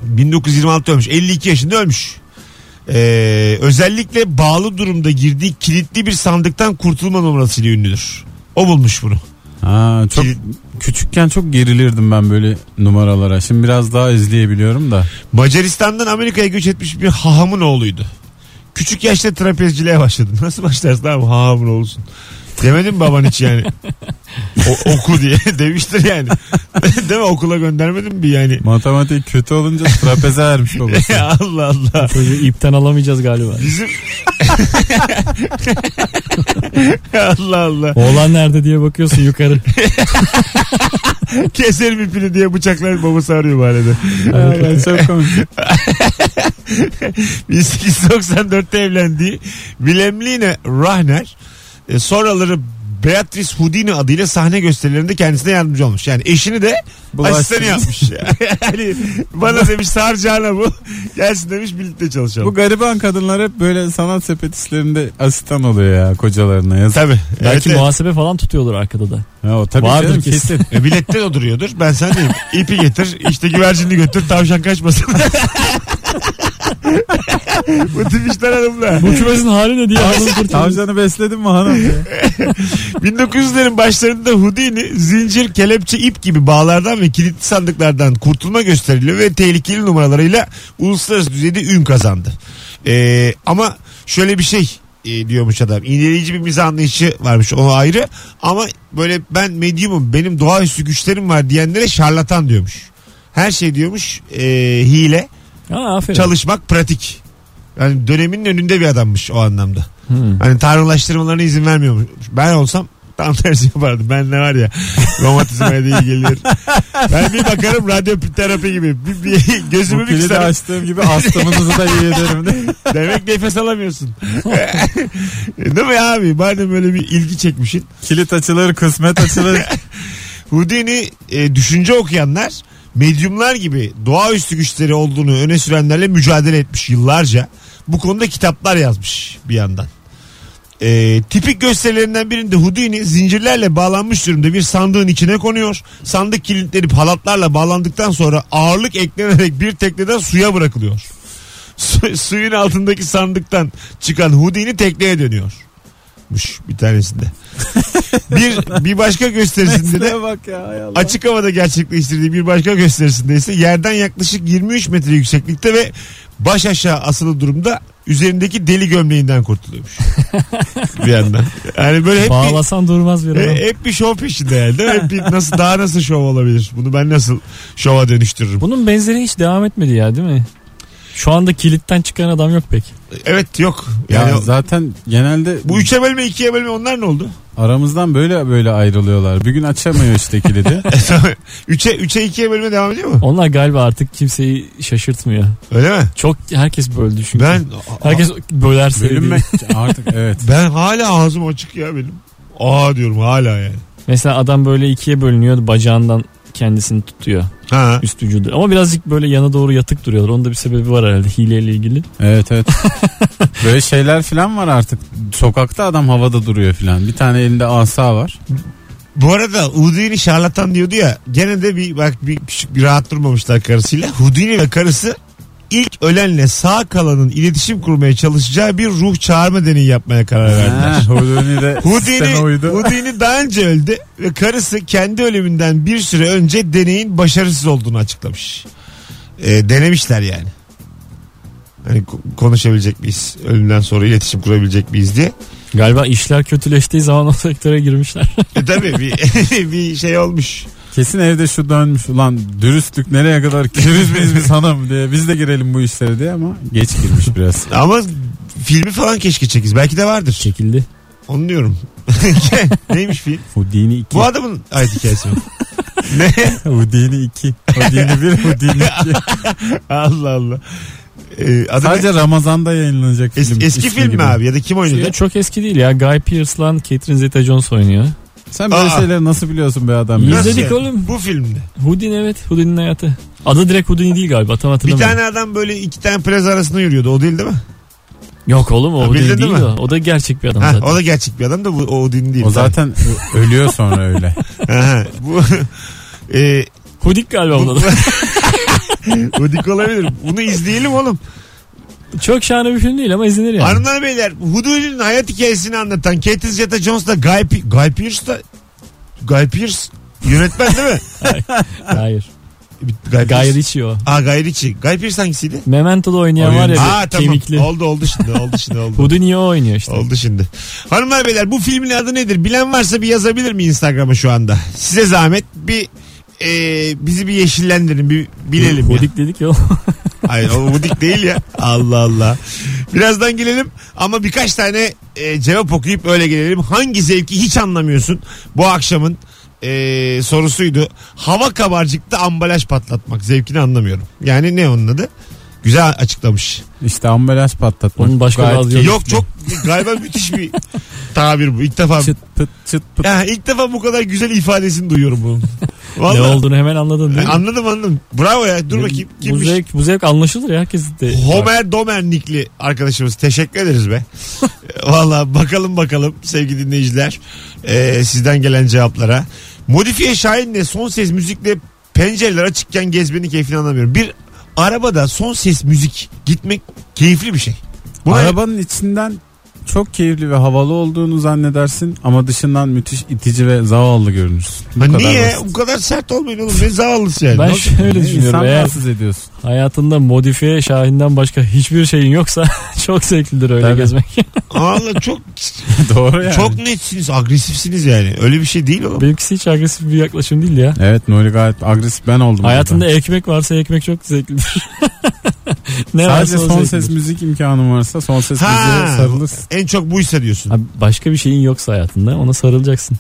B: 1926 ölmüş. 52 yaşında ölmüş. Ee, özellikle bağlı durumda girdiği kilitli bir sandıktan kurtulma numarasıyla ünlüdür. O bulmuş bunu.
D: Ha, çok
B: Kilit-
D: küçükken çok gerilirdim ben böyle numaralara. Şimdi biraz daha izleyebiliyorum da.
B: Macaristan'dan Amerika'ya göç etmiş bir hahamın oğluydu. Küçük yaşta trapezciliğe başladı. Nasıl başlarsın abi hahamın olsun. Demedin mi baban hiç yani? O- oku diye demiştir yani. Değil mi okula göndermedin mi bir yani?
D: Matematik kötü olunca trapeze ermiş babası.
B: Allah Allah.
C: Çocuğu ipten alamayacağız galiba.
B: Bizim Allah Allah.
C: Oğlan nerede diye bakıyorsun yukarı.
B: Keserim ipini diye bıçaklar babası arıyor mahallede.
D: Ya ben çok komik.
B: 1894'te evlendiği Wilhelmine Rahner e, sonraları Beatrice Houdini adıyla sahne gösterilerinde kendisine yardımcı olmuş. Yani eşini de
D: Bulaştırmış.
B: asistanı yapmış. yani bana demiş saracağına bu. Gelsin demiş birlikte çalışalım.
D: Bu gariban kadınlar hep böyle sanat sepetistlerinde asistan oluyor ya kocalarına yazık.
B: Tabii.
C: Belki
B: evet.
C: muhasebe falan tutuyordur arkada da.
D: Ya o tabii
C: Vardır
D: canım,
C: kesin.
B: E, bilette de duruyordur. Ben sen diyeyim. İpi getir. işte güvercini götür. Tavşan kaçmasın. bu tip işler hanımla.
C: Bu kümesin hali ne diye ağzını kurtarıyor.
D: Tavşanı besledin mi hanım?
B: 1900'lerin başlarında Houdini zincir, kelepçe, ip gibi bağlardan ve kilitli sandıklardan kurtulma gösteriliyor ve tehlikeli numaralarıyla uluslararası düzeyde ün kazandı. Ee, ama şöyle bir şey e, diyormuş adam. İğneleyici bir mizah anlayışı varmış o ayrı. Ama böyle ben medyumum benim doğaüstü güçlerim var diyenlere şarlatan diyormuş. Her şey diyormuş e, hile,
C: Ha aferin.
B: çalışmak, pratik. Yani dönemin önünde bir adammış o anlamda.
C: Hmm.
B: Hani tanrılaştırmalarına izin vermiyormuş. Ben olsam tam tersi yapardım. Ben ne var ya romatizmaya da iyi gelir. Ben bir bakarım radyo terapi gibi. Bir, bir gözümü bir
D: Bu pili de
B: kısarım.
D: açtığım gibi astımınızı da iyi ederim. de.
B: Demek nefes alamıyorsun. Değil mi abi? Madem böyle bir ilgi çekmişsin.
D: Kilit açılır, kısmet açılır.
B: Houdini e, düşünce okuyanlar medyumlar gibi doğaüstü güçleri olduğunu öne sürenlerle mücadele etmiş yıllarca. Bu konuda kitaplar yazmış bir yandan. E, tipik gösterilerinden birinde Houdini zincirlerle bağlanmış durumda bir sandığın içine konuyor. Sandık kilitlenip halatlarla bağlandıktan sonra ağırlık eklenerek bir tekneden suya bırakılıyor. Su- suyun altındaki sandıktan çıkan Houdini tekneye dönüyormuş bir tanesinde. bir bir başka gösterisinde de
D: Mesleğe bak ya hay Allah.
B: Açık havada gerçekleştirdiği bir başka gösterisinde ise yerden yaklaşık 23 metre yükseklikte ve baş aşağı asılı durumda üzerindeki deli gömleğinden kurtuluyormuş. bir yandan. Yani böyle hep bir,
C: Bağlasan durmaz bir adam.
B: e, hep bir şov peşinde yani. değil mi? Hep bir nasıl, daha nasıl şov olabilir? Bunu ben nasıl şova dönüştürürüm?
C: Bunun benzeri hiç devam etmedi ya değil mi? Şu anda kilitten çıkan adam yok pek.
B: Evet yok.
D: Ya
B: Yani
D: zaten genelde
B: bu üçe bölme ikiye bölme onlar ne oldu?
D: aramızdan böyle böyle ayrılıyorlar. Bir gün açamıyor işte kilidi.
B: üçe, üçe ikiye bölme devam ediyor mu?
C: Onlar galiba artık kimseyi şaşırtmıyor.
B: Öyle mi?
C: Çok herkes böldü çünkü.
B: Ben
C: herkes böler sevdiği.
D: Bölünmek artık evet.
B: ben hala ağzım açık ya benim. Aa diyorum hala yani.
C: Mesela adam böyle ikiye bölünüyor bacağından kendisini tutuyor
B: Ha.
C: üst vücudu. Ama birazcık böyle yana doğru yatık duruyorlar. Onun da bir sebebi var herhalde hileyle ilgili.
D: Evet evet. Böyle şeyler falan var artık. Sokakta adam havada duruyor falan. Bir tane elinde asa var.
B: Bu arada Houdini şarlatan diyordu ya gene de bir bak bir küçük bir rahat durmamışlar karısıyla. Houdini ve karısı ilk ölenle sağ kalanın iletişim kurmaya çalışacağı bir ruh çağırma deneyi yapmaya karar verdiler.
D: Houdini de
B: Houdini,
D: sisteme uydu.
B: Houdini daha önce öldü ve karısı kendi ölümünden bir süre önce deneyin başarısız olduğunu açıklamış. Ee, denemişler yani. Hani ko- konuşabilecek miyiz? Ölümden sonra iletişim kurabilecek miyiz diye.
C: Galiba işler kötüleştiği zaman o sektöre girmişler.
B: E tabii bir, bir şey olmuş.
D: Kesin evde şu dönmüş ulan dürüstlük nereye kadar kiriz miyiz biz hanım diye biz de girelim bu işlere diye ama geç girmiş biraz.
B: Ama filmi falan keşke çekiz. Belki de vardır.
C: Çekildi.
B: Onu diyorum. Şey, Neymiş film?
D: Houdini 2.
B: Bu adamın ait hikayesi mi?
D: Houdini 2. Houdini 1, Houdini 2.
B: Allah Allah. Ee, adı ne?
D: Sadece Ramazan'da yayınlanacak
B: Es-
D: film.
B: eski
D: ismi
B: film mi
D: gibi.
B: abi ya da kim oynadı?
C: Ya çok eski değil ya. Guy Pearce'la Catherine Zeta-Jones oynuyor.
D: Sen böyle
B: Aa.
D: şeyleri nasıl biliyorsun be adam?
C: Biz
D: Ya?
B: Nasıl
C: dedik
B: yani?
C: oğlum.
B: Bu filmde.
C: Houdini evet. Houdini'nin hayatı. Adı direkt Houdini değil galiba. Tam
B: Bir
C: hatırlamıyorum.
B: tane adam böyle iki tane plaza arasında yürüyordu. O değil değil mi?
C: Yok oğlum o
B: Ha,
C: Houdini
B: bildin
C: değil
B: mi?
C: o. O da gerçek bir adam
B: Ha,
C: zaten.
B: o da gerçek bir adam da bu, o din değil.
D: O zaten ö- ölüyor sonra öyle.
B: Aha, bu e,
C: Hudik galiba
B: bu,
C: onun adı.
B: bu dik olabilir. Bunu izleyelim oğlum.
C: Çok şahane bir film değil ama izlenir yani.
B: Hanımlar beyler Hudu'nun hayat hikayesini anlatan Catherine Zeta Jones da Guy, Pe- Guy Pearce da Guy Pearce yönetmen değil mi?
C: Hayır.
B: Guy Pearce.
C: Guy Ritchie o.
B: Aa Guy Ritchie. Guy Pearce hangisiydi?
C: Memento'da oynayan var ya
B: Aa
C: bir
B: tamam.
C: kemikli.
B: Oldu oldu şimdi oldu şimdi oldu.
C: Houdini o oynuyor işte.
B: Oldu şimdi. Hanımlar beyler bu filmin adı nedir? Bilen varsa bir yazabilir mi Instagram'a şu anda? Size zahmet bir e, bizi bir yeşillendirin bir bilelim. ya.
C: Hudik dedik ya.
B: Hayır o budik değil ya. Allah Allah. Birazdan gelelim ama birkaç tane e, cevap okuyup öyle gelelim. Hangi zevki hiç anlamıyorsun bu akşamın e, sorusuydu. Hava kabarcıkta ambalaj patlatmak zevkini anlamıyorum. Yani ne onun adı? Güzel açıklamış.
D: İşte ambalaj patlatmak.
C: Onun başka
D: Gayet
C: bazı
D: keyifli.
B: Yok çok galiba müthiş bir tabir bu. İlk defa
D: Çıt pıt çıt pıt.
B: ya, ilk defa bu kadar güzel ifadesini duyuyorum bunun. Vallahi.
C: ne olduğunu hemen anladın değil mi?
B: Anladım anladım. Bravo ya. Dur bakayım.
C: Bu
B: Kimmiş?
C: zevk, bu zevk anlaşılır ya herkes de.
B: Homer Domernikli arkadaşımız. Teşekkür ederiz be. Valla bakalım bakalım sevgili dinleyiciler. Ee, sizden gelen cevaplara. Modifiye Şahin'le son ses müzikle pencereler açıkken gezmenin keyfini anlamıyorum. Bir arabada son ses müzik gitmek keyifli bir şey. Buna
D: Arabanın içinden çok keyifli ve havalı olduğunu zannedersin ama dışından müthiş itici ve zavallı görünürsün. Bu
B: Ha,
D: kadar
B: niye?
D: basit.
B: Bu kadar sert olmayın oğlum. Ne zavallısı yani.
C: Ben
B: Nasıl-
C: şöyle düşünüyorum.
D: İnsan
C: Eğer
D: rahatsız ediyorsun.
C: hayatında modifiye şahinden başka hiçbir şeyin yoksa çok zevklidir öyle
D: Tabii.
C: gezmek.
B: Allah çok
D: Doğru yani.
B: çok netsiniz, agresifsiniz yani. Öyle bir şey değil oğlum.
C: Benimkisi hiç agresif bir yaklaşım değil ya.
D: Evet Nuri gayet agresif ben oldum.
C: Hayatında ekmek varsa ekmek çok zevklidir. ne
D: burada.
C: varsa
D: Sadece
C: o
D: son
C: zevklidir.
D: ses müzik imkanım varsa son ses
B: Ha.
D: müziğe sarılırsın.
B: En çok buysa diyorsun.
C: Abi başka bir şeyin yoksa hayatında ona sarılacaksın.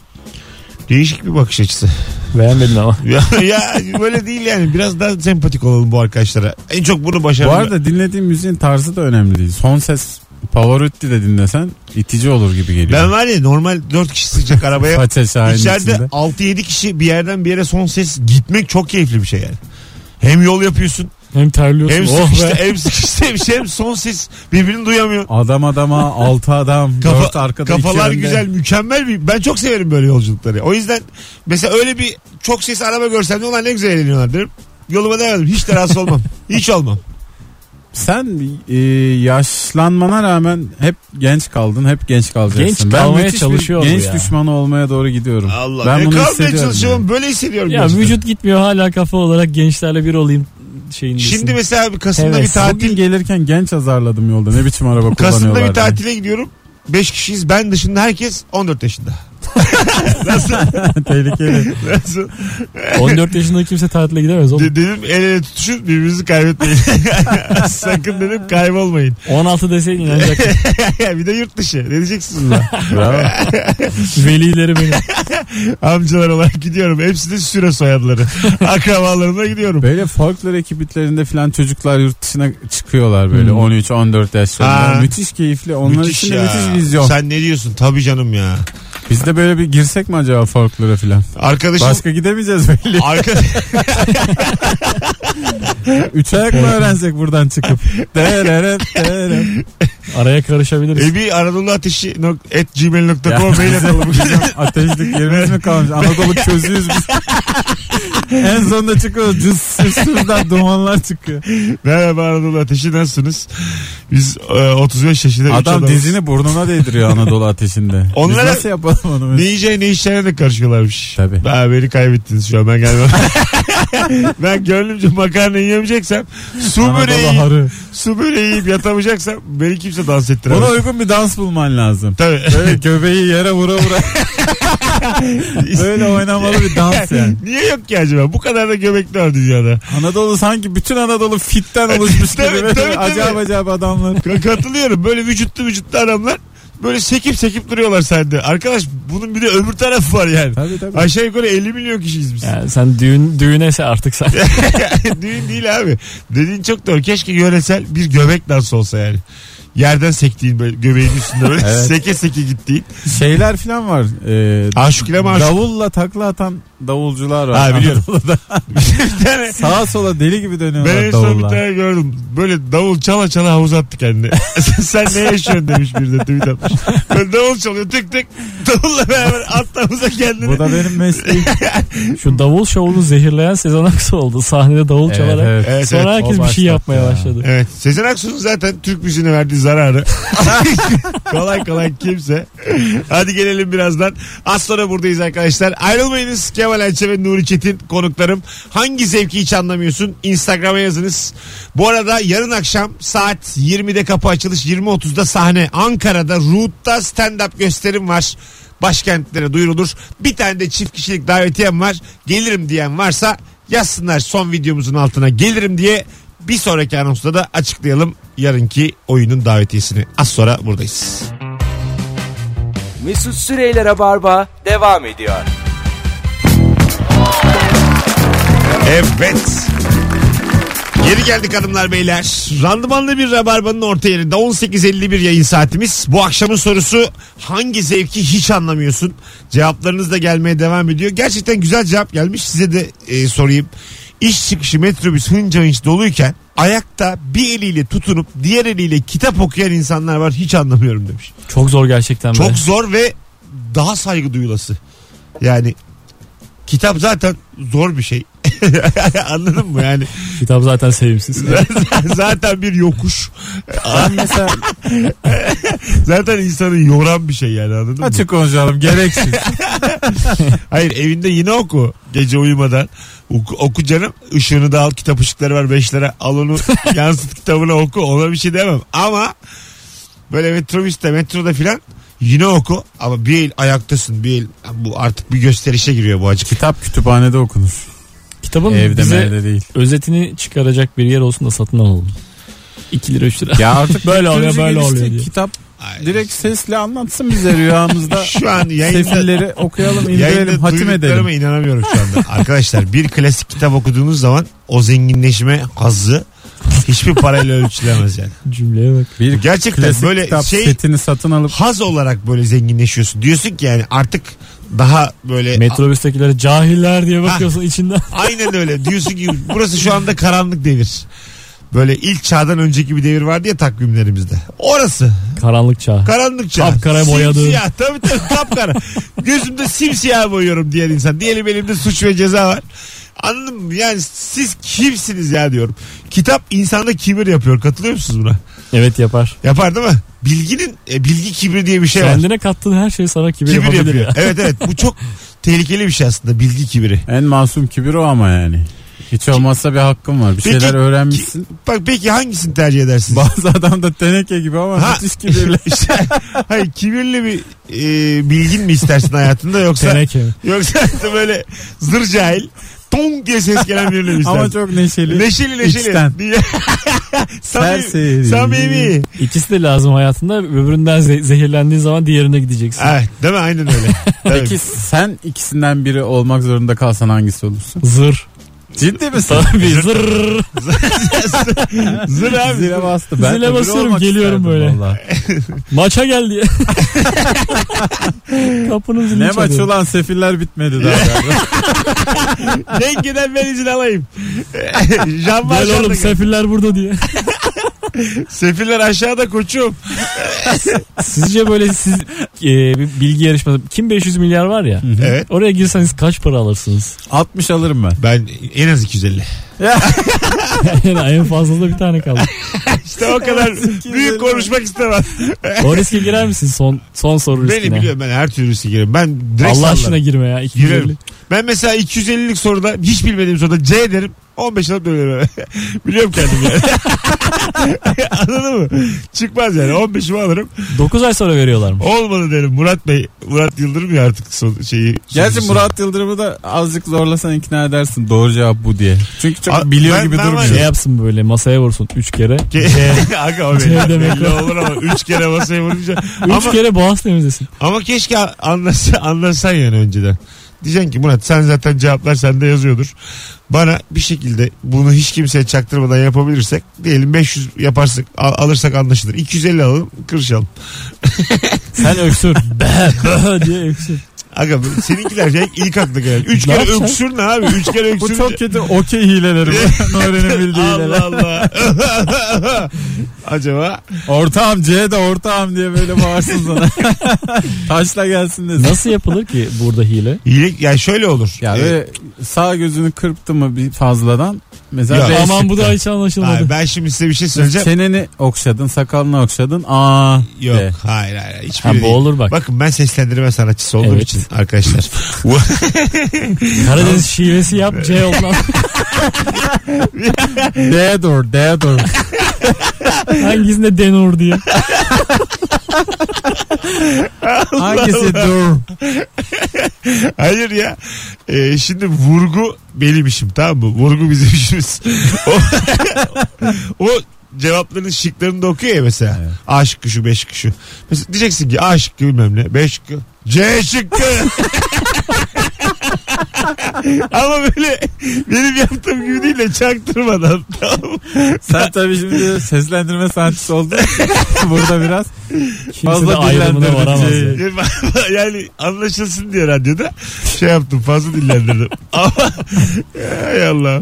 B: Değişik bir bakış açısı.
C: Beğenmedin ama.
B: ya, ya böyle değil yani. Biraz daha sempatik olalım bu arkadaşlara. En çok bunu
D: Bu
B: başarılı.
D: arada dinlediğin müziğin tarzı da önemli değil. Son ses Pavarotti de dinlesen itici olur gibi geliyor.
B: ben var ya normal 4 kişi sıcak arabaya
D: Faça şahin
B: içeride
D: içinde.
B: 6-7 kişi bir yerden bir yere son ses gitmek çok keyifli bir şey yani. Hem yol yapıyorsun,
C: Hem terliyorsun.
B: hem
C: oh
B: sıkıştı,
C: be.
B: hem sıkıştı, hem, şey, hem son ses birbirini duyamıyor.
D: Adam adama altı adam
B: Kafa-
D: dört arkada iki
B: Kafalar
D: önde.
B: güzel, mükemmel bir. Ben çok severim böyle yolculukları. O yüzden mesela öyle bir çok ses araba görsem de onlar ne güzel eğleniyorlar derim. Yoluma devam ederim. Hiç de rahatsız olmam. Hiç olmam.
D: Sen e, yaşlanmana rağmen hep genç kaldın hep genç kalacaksın.
C: Genç
D: ben
C: kalmaya
D: müthiş bir
C: çalışıyor bu
D: genç
C: ya.
D: düşmanı olmaya doğru gidiyorum.
B: Allah.
D: Ben
B: Ben
D: bunu
B: kalmaya
D: hissediyorum.
B: çalışıyorum.
D: yani.
B: Böyle hissediyorum.
C: Ya
B: gerçekten.
C: vücut gitmiyor hala kafa olarak gençlerle bir olayım şeyin.
B: Şimdi
C: desin.
B: mesela bir Kasım'da
C: Evet,
B: bir
D: Bugün
B: tatil
D: E, gelirken genç azarladım yolda. Ne biçim araba kullanıyorlar.
B: Kasım'da bir
D: diye.
B: tatile gidiyorum. 5 kişiyiz. Ben dışında herkes 14 yaşında. Nasıl?
D: Tehlikeli.
B: Nasıl?
C: 14 yaşında kimse tatile gidemez oğlum.
B: De- dedim el ele tutuşun birbirinizi kaybetmeyin. Sakın dedim kaybolmayın.
C: 16 deseydin inanacaktım.
B: bir de yurt dışı. Ne diyeceksiniz lan?
D: Bravo.
C: Velileri benim.
B: Amcalar olarak gidiyorum. Hepsi de süre soyadları. Akrabalarımla gidiyorum.
D: Böyle folklor ekibitlerinde falan çocuklar yurt dışına çıkıyorlar böyle
C: Hmm.
D: 13-14 yaşlarında.
B: Ha.
D: Müthiş keyifli. Onlar için de
B: ya.
D: müthiş vizyon.
B: Sen ne diyorsun? Tabii canım ya.
D: Biz de böyle bir girsek mi acaba folklora falan?
B: Arkadaşım...
D: Başka gidemeyeceğiz belli.
B: Arka...
D: Üç ayak mı öğrensek buradan çıkıp? Dererem, dererem.
C: Araya karışabiliriz.
B: Ebi E, Anadolu Ateşi nok- at gmail.com
D: Ya.
B: mail atalım.
D: Bizim ateşlik yerimiz mi kalmış? Anadolu közüyüz biz. en sonunda çıkıyoruz. Cız sız sızdan dumanlar çıkıyor.
B: Merhaba Anadolu Ateşi nasılsınız? Biz e, 35 yaşında üç
D: Adam
B: adamız.
D: dizini burnuna değdiriyor Anadolu ateşinde.
B: Onlara-
D: Biz nasıl yapalım onu?
B: Ne yiyeceği ne içeceğine de karışıyorlarmış.
D: Tabii.
B: Ha, beni kaybettiniz şu an ben gelmem. ben gönlümce makarna yiyemeyeceksem su
D: Anadolu
B: böreği,
D: harı.
B: su böreği yiyip yatamayacaksam beni kimse da dans ettiremez.
D: Buna uygun bir dans bulman lazım.
B: Tabii.
D: Böyle göbeği yere vura vura. Böyle oynamalı bir dans yani.
B: Niye yok ki acaba? Bu kadar da göbekli var dünyada.
D: Anadolu sanki bütün Anadolu fitten oluşmuş gibi.
B: Tabii,
D: Böyle
B: tabii, tabii.
D: Acayip acayip adamlar.
B: Ka- Katılıyorum. Böyle vücutlu vücutlu adamlar böyle sekip sekip duruyorlar sende. Arkadaş bunun bir de öbür tarafı var yani.
D: Tabii tabii.
B: Aşağı yukarı 50 milyon kişiyiz biz.
C: Yani sen düğün düğünese artık sen.
B: Düğün değil abi. Dediğin çok doğru. Keşke yöresel bir göbek dansı olsa yani. Yerden sektiğin böyle göbeğin üstünde böyle
D: Evet.
B: seke seke gittiğin.
D: Şeyler falan var. Ee,
B: Aşık ile maşuk.
D: Davulla takla atan davulcular var.
B: Ha biliyorum.
D: Anadolu'da.
B: bir tane
D: Sağa sola deli gibi
B: ben en
D: dönüyorlar
B: son bir
D: davulla.
B: tane gördüm. Böyle davul çala çala havuz attı kendini. Sen ne yaşıyorsun demiş bir de tweet atmış. Böyle davul çalıyor tık tık. Davulla beraber attı havuza kendini.
D: Bu da benim mesleğim.
C: Şu davul şovunu zehirleyen Sezen Aksu oldu. Sahnede davul
D: Evet,
C: çalarak.
D: evet.
B: Evet,
C: Sonra
B: evet.
C: herkes
D: o
C: bir şey
D: başlattı
C: yapmaya
D: ya.
C: başladı.
B: Evet. Sezen Aksu'nun zaten Türk müziğine verdiği zararı. kolay kolay kimse. Hadi gelelim birazdan. Az sonra buradayız arkadaşlar. Ayrılmayınız. Kemal Ayça ve Nuri Çetin konuklarım. Hangi zevki hiç anlamıyorsun? Instagram'a yazınız. Bu arada yarın akşam saat 20'de kapı açılış. 20.30'da sahne. Ankara'da Root'ta stand-up gösterim var. Başkentlere duyurulur. Bir tane de çift kişilik davetiyem var. Gelirim diyen varsa yazsınlar son videomuzun altına gelirim diye bir sonraki anonsda da açıklayalım yarınki oyunun davetiyesini. Az sonra buradayız.
A: Mesut Süreyler'e barba devam ediyor.
B: Evet. Geri geldik hanımlar beyler. Randımanlı bir rabarbanın orta yerinde 18.51 yayın saatimiz. Bu akşamın sorusu hangi zevki hiç anlamıyorsun? Cevaplarınız da gelmeye devam ediyor. Gerçekten güzel cevap gelmiş. Size de e, sorayım. İş çıkışı metrobüs hınca hınç doluyken ayakta bir eliyle tutunup diğer eliyle kitap okuyan insanlar var. Hiç anlamıyorum demiş.
C: Çok zor gerçekten. be.
B: Çok zor ve daha saygı duyulası. Yani kitap zaten zor bir şey. Anladın mı yani?
C: Kitap zaten sevimsiz.
B: zaten bir yokuş.
D: Ben mesela
B: Zaten insanı yoran bir şey yani anladın mı?
D: açık konuşalım gereksiz.
B: Hayır evinde yine oku. Gece uyumadan. Oku, oku canım. Işığını da al. Kitap ışıkları var 5 lira. Al onu yansıt kitabını oku. Ona bir şey demem. Ama böyle metrobüste metroda filan yine oku. Ama bir el ayaktasın. Bir el bu artık bir gösterişe giriyor bu acık.
D: Kitap kütüphanede okunur.
C: Kitabın
D: Evde
C: bize
D: mevde değil.
C: özetini çıkaracak bir yer olsun da satın alalım. 2 lira 3 lira.
D: Ya artık
C: Böyle
D: teknoloji
C: oluyor, böyle
D: gelişti.
C: oluyor diye.
D: Kitap
B: Ay,
D: direkt sesle anlatsın bize rüyamızda.
B: şu an yayında
D: Sefilleri okuyalım, indirelim,
B: Yayında
D: hatim
B: duyduklarıma
D: edelim.
B: inanamıyorum şu anda. Arkadaşlar bir klasik kitap okuduğunuz zaman o zenginleşme hazzı hiçbir parayla ölçülemez yani.
C: Cümleye bak.
D: Bir
B: Gerçekten
D: klasik
B: böyle
D: kitap
B: şey-
D: setini satın alıp
B: Haz olarak böyle zenginleşiyorsun. Diyorsun ki yani artık daha böyle
C: Metrobüstekilere E, cahiller diye bakıyorsun içinden.
B: A- aynen öyle diyorsun ki burası şu anda karanlık devir. Böyle ilk çağdan önceki bir devir vardı ya takvimlerimizde. Orası
C: Karanlık çağ.
B: karanlık çağ.
C: Kapkara boyadı.
B: Simsiyah tabii tabii kapkara. Gözümde simsiyah boyuyorum diyen insan. Diyelim elimde suç ve ceza var. Anladın mı? Yani siz kimsiniz ya diyorum. Kitap insanda kibir yapıyor. Katılıyor musunuz buna?
C: Evet yapar.
B: Yapar değil mi? Bilginin e, bilgi kibri diye bir şey var.
C: Kendine kattığın her şey sana kibir,
B: Kibir
C: yapabilir
B: yapıyor.
C: ya.
B: Evet evet bu çok tehlikeli bir şey aslında bilgi kibiri.
D: en masum kibir o ama yani. Hiç olmazsa bir hakkım var. Bir
B: Peki-
D: şeyler öğrenmişsin.
B: Bak peki hangisini tercih edersiniz?
D: Bazı adam da teneke gibi ama
B: Ha.
D: müthiş kibirli.
B: İşte, hayır kibirli bir e, bilgin mi istersin hayatında yoksa
C: Teneke. mi?
B: yoksa böyle zır cahil tong diye ses gelen birini mi istersin?
D: ama çok neşeli.
B: Neşeli neşeli.
D: İçten.
B: Diye- Samimi.
D: Serseri.
B: Samimi.
C: İkisi de lazım hayatında. Öbüründen ze- zehirlendiğin zaman diğerine gideceksin.
B: Evet, değil mi? Aynen öyle.
D: Peki sen ikisinden biri olmak zorunda kalsan hangisi olursun?
C: Zır.
D: Ciddi misin?
C: Tabii zır.
B: Zır abi.
D: Zile bastı. Ben
C: Zile
D: öbürü
C: basıyorum,
D: olmak
C: geliyorum
D: isterdim
C: böyle.
D: vallahi.
C: Maça gel diye. Kapının zilini
D: Ne maç
C: çalıyor.
D: ulan sefiller bitmedi daha.
B: Dengeden ben izin alayım. Jean
C: Gel
B: Valjean'da
C: oğlum
B: gel.
C: sefiller burada diye.
B: Sefiller aşağıda koçum.
C: Sizce böyle siz e, bir bilgi yarışması kim 500 milyar var ya
B: Evet.
C: oraya girseniz kaç para alırsınız?
D: 60 alırım ben.
B: Ben en az 250.
C: yani en fazlası bir tane kaldı.
B: İşte o kadar
D: 250.
B: büyük konuşmak istemem.
C: O riske girer misin son son soru
B: Beni
C: riskine?
B: biliyorum ben her türlü riske girerim. Ben direkt
C: Allah
B: sallarım.
C: aşkına girme ya. 250.
B: Girerim. Ben mesela 250'lik soruda hiç bilmediğim soruda C derim. 15 alıp dönerim. biliyorum kendimi yani. Anladın mı? Çıkmaz yani. 15'imi alırım.
C: 9 ay sonra veriyorlar mı?
B: Olmadı derim. Murat Bey. Murat Yıldırım ya artık son, şeyi.
D: Gerçi
B: sonuncusu.
D: Murat Yıldırım'ı da azıcık zorlasan ikna edersin doğru cevap bu diye. Çünkü çok
B: A-
D: biliyor
B: ben-
D: gibi
B: ben var
D: durmuyor.
B: ya-
C: Şey yapsın böyle masaya vursun 3 kere. 3
B: Ke- Aga o belli,
C: C demek
B: belli olur ama 3 kere masaya vurunca. ama,
C: kere boğaz temizlesin.
B: ama keşke anlasa, anlasan yani önceden. Diyeceksin ki Murat sen zaten cevaplar sende yazıyordur. Bana bir şekilde bunu hiç kimseye çaktırmadan yapabilirsek diyelim 500 yaparsak al- alırsak anlaşılır. 250 alalım kırışalım.
C: Sen öksür. Be, be diye öksür.
B: Aga bu- seninkiler şey ilk aklı gelen. 3
C: Ne
B: kere
C: yapacaksın?
B: öksür ne abi? 3 kere öksür.
D: Bu çok kötü okey hileleri bu. Öğrenebildiği hileler.
B: Allah Allah. Acaba
D: Ortağım C de ortağım diye böyle bağırsın sana. Taşla gelsin de.
C: Nasıl yapılır ki burada hile?
B: iyilik yani şöyle olur.
D: Ya
B: Ee,
D: böyle sağ gözünü kırptı mı bir fazladan mesela
B: Ya.
D: beş
C: Aman bu
D: çıktı.
C: da hiç anlaşılmadı.
B: Hayır, ben şimdi size bir şey söyleyeceğim.
D: Çeneni okşadın sakalını okşadın aa
B: Yok
D: de.
B: hayır hayır. Hiçbiri
C: Şey- Ha, bu
B: değil.
C: olur bak.
B: Bakın ben seslendirme sanatçısı olduğum
C: Evet.
B: için arkadaşlar.
C: Karadeniz şivesi yap C olan.
D: D'ye dur D'ye dur.
C: Hangisinde denur diye.
D: Hangisi
B: Allah.
D: dur.
B: hayır ya. Ee, şimdi vurgu benim işim tamam mı? Vurgu bizim işimiz. o, o cevapların şıklarını da okuyor ya mesela.
D: Evet.
B: A şıkkı şu B şıkkı şu. Mesela diyeceksin ki A şıkkı bilmem ne. B şıkkı. C şıkkı. Ama böyle benim yaptığım gibi değil de çaktırmadan. Tamam mı?
D: Sen tabii şimdi seslendirme sanatçısı oldun. Burada biraz
C: Kimse de
D: Fazla
C: ayrımına
D: dillendirdin
C: varamaz.
D: C'yi.
C: yani.
B: yani anlaşılsın diye radyoda şey yaptım fazla dillendirdim. Ama hay Allah.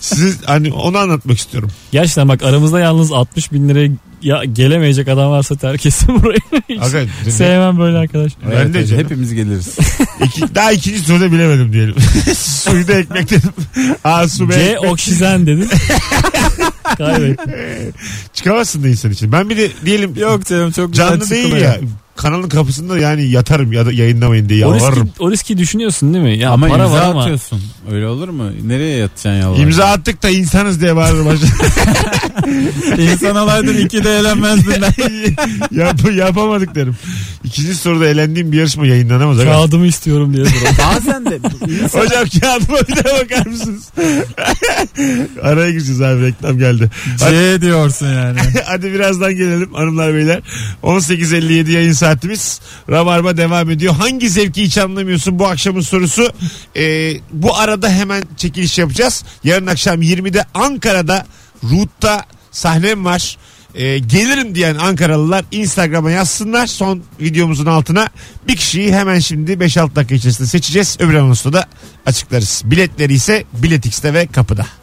B: Siz hani onu anlatmak istiyorum.
C: Gerçekten bak aramızda yalnız 60 bin liraya ya gelemeyecek adam varsa terk etsin burayı. Hiç
B: Aga, dün-
C: Sevmem böyle arkadaş.
B: Ben de
D: evet,
B: canım.
D: hepimiz geliriz.
B: iki- daha ikinci soruda bilemedim diyelim. Suyda ekmek dedim. Aa su be.
C: C oksijen dedin. Kaybettim.
B: Çıkamazsın da insan için. Ben bir de diyelim
D: Yok canım çok güzel
B: canlı değil
D: çıkılıyor.
B: ya. Kanalın kapısında yani yatarım ya da yayınlamayın diye
C: O riski,
B: yalvarırım.
C: o riski düşünüyorsun değil mi? Ya
D: Ama
C: para
D: imza
C: var ama.
D: atıyorsun. Öyle olur mu? Nereye yatacaksın yalvar?
B: İmza attık da insanız diye bağırırım.
D: İnsan alaydın iki de eğlenmezdin ben.
B: Yap, yapamadık derim. İkinci soruda elendiğim bir yarışma yayınlanamaz. Aga.
C: Kağıdımı istiyorum diye. soruyor.
D: Bazen de insan-
B: Hocam kağıdıma bir de bakar mısınız? Araya gireceğiz abi reklam geldi.
D: C diyorsun yani.
B: Hadi birazdan gelelim hanımlar beyler. 18.57 yayın saatimiz. Rabarba devam ediyor. Hangi zevki hiç anlamıyorsun bu akşamın sorusu. Ee, bu arada hemen çekiliş yapacağız. Yarın akşam 20'de Ankara'da Root'ta sahnem var. Ee, gelirim diyen Ankaralılar Instagram'a yazsınlar. Son videomuzun altına bir kişiyi hemen şimdi 5-6 dakika içerisinde seçeceğiz. Öbür anonsu da açıklarız. Biletleri ise Biletix'te ve kapıda.